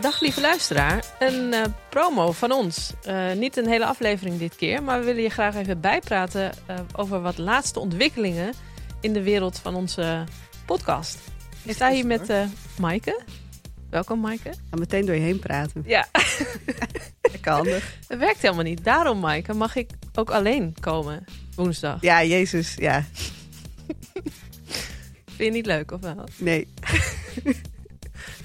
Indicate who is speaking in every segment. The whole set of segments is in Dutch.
Speaker 1: Dag lieve luisteraar, een eh, promo van ons. Eh, niet een hele aflevering dit keer, maar we willen je graag even bijpraten eh, over wat laatste ontwikkelingen in de wereld van onze podcast. Ik sta hier met eh Maaike. Welkom Maaike.
Speaker 2: ga meteen door je heen praten.
Speaker 1: Ja,
Speaker 2: Lekker handig.
Speaker 1: het werkt helemaal niet. Daarom Maaike mag ik ook alleen komen woensdag.
Speaker 2: Ja, Jezus. Ja,
Speaker 1: Vind je niet leuk of wel?
Speaker 2: nee.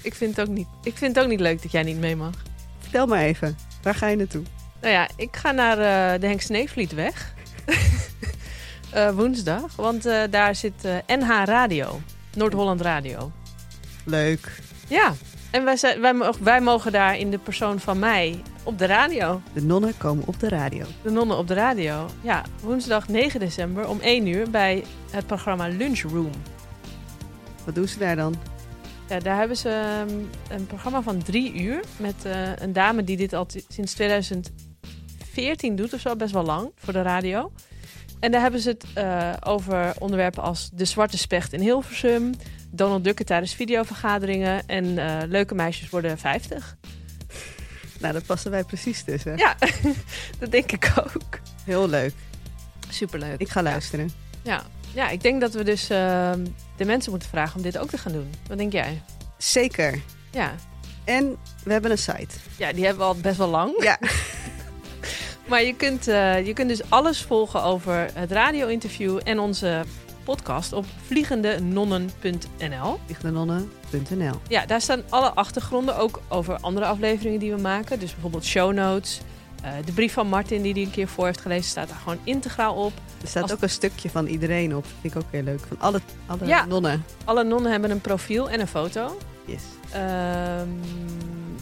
Speaker 1: Ik vind het ook niet, ik vind het ook niet leuk dat jij niet mee mag.
Speaker 2: Vertel maar even. Waar ga je naartoe?
Speaker 1: Nou ja, ik ga naar eh, de Henk Sneevlietweg. Eh woensdag. Want eh, daar zit eh, NH Radio. Noord-Holland Radio.
Speaker 2: Leuk.
Speaker 1: Ja. En wij, zijn, wij, mo- wij mogen daar in de persoon van mij op de radio.
Speaker 2: De nonnen komen op de radio.
Speaker 1: De nonnen op de radio. Ja, woensdag 9 december om 1 uur bij het programma Lunchroom.
Speaker 2: Wat doen ze daar dan?
Speaker 1: Ja, daar hebben ze ehm, een programma van drie uur met eh, een dame die dit al t- sinds 2014 doet of zo, best wel lang voor de radio. En daar hebben ze het eh, over onderwerpen als de zwarte specht in Hilversum, Donald Duck tijdens videovergaderingen en eh, leuke meisjes worden 50.
Speaker 2: Nou, daar passen wij precies tussen.
Speaker 1: Ja, dat denk ik ook.
Speaker 2: Heel leuk.
Speaker 1: Superleuk.
Speaker 2: Ik ga luisteren.
Speaker 1: Ja, ja ik denk dat we dus ehm, de mensen moeten vragen om dit ook te gaan doen. Wat denk jij?
Speaker 2: Zeker.
Speaker 1: Ja,
Speaker 2: En we hebben een site.
Speaker 1: ja die hebben we al best wel lang.
Speaker 2: Ja.
Speaker 1: Maar je kunt, eh, je kunt dus alles volgen over het radio-interview en onze podcast op vliegendenonnen.nl.
Speaker 2: Lichtenonnen.nl
Speaker 1: Ja, daar staan alle achtergronden, ook over andere afleveringen die we maken. Dus bijvoorbeeld show notes. eh, de brief van Martin die hij een keer voor heeft gelezen staat daar gewoon integraal op.
Speaker 2: Er staat
Speaker 1: Als-
Speaker 2: ook een stukje van iedereen op. Vind ik ook heel leuk. Van alle, alle
Speaker 1: Ja.
Speaker 2: nonnen.
Speaker 1: Alle nonnen hebben een profiel en een foto.
Speaker 2: Yes.
Speaker 1: Ehm,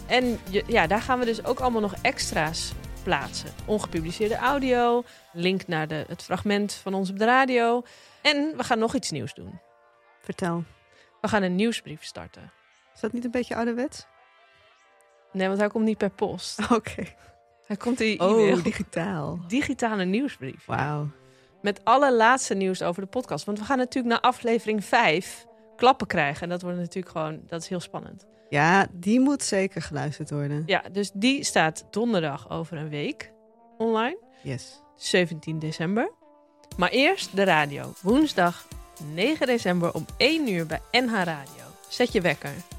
Speaker 1: en je- ja, daar gaan we dus ook allemaal nog extra's plaatsen. Ongepubliceerde audio, link naar de, het fragment van ons op de radio. En we gaan nog iets nieuws doen.
Speaker 2: Vertel.
Speaker 1: We gaan een nieuwsbrief starten.
Speaker 2: Is dat niet een beetje ouderwets?
Speaker 1: Nee, want hij komt niet per post.
Speaker 2: Oké.
Speaker 1: Hij komt in je e-mail.
Speaker 2: Oh, digitaal.
Speaker 1: Digitale nieuwsbrief.
Speaker 2: Wauw.
Speaker 1: Met alle laatste nieuws over de podcast. Want we gaan natuurlijk na aflevering 5 klappen krijgen. En dat wordt natuurlijk gewoon, dat is heel spannend.
Speaker 2: Ja, die moet zeker geluisterd worden.
Speaker 1: Ja, dus die staat donderdag over een week online.
Speaker 2: Yes.
Speaker 1: 17 december. Maar eerst de radio. Woensdag 9 december om 1 uur bij NH Radio. Zet je wekker.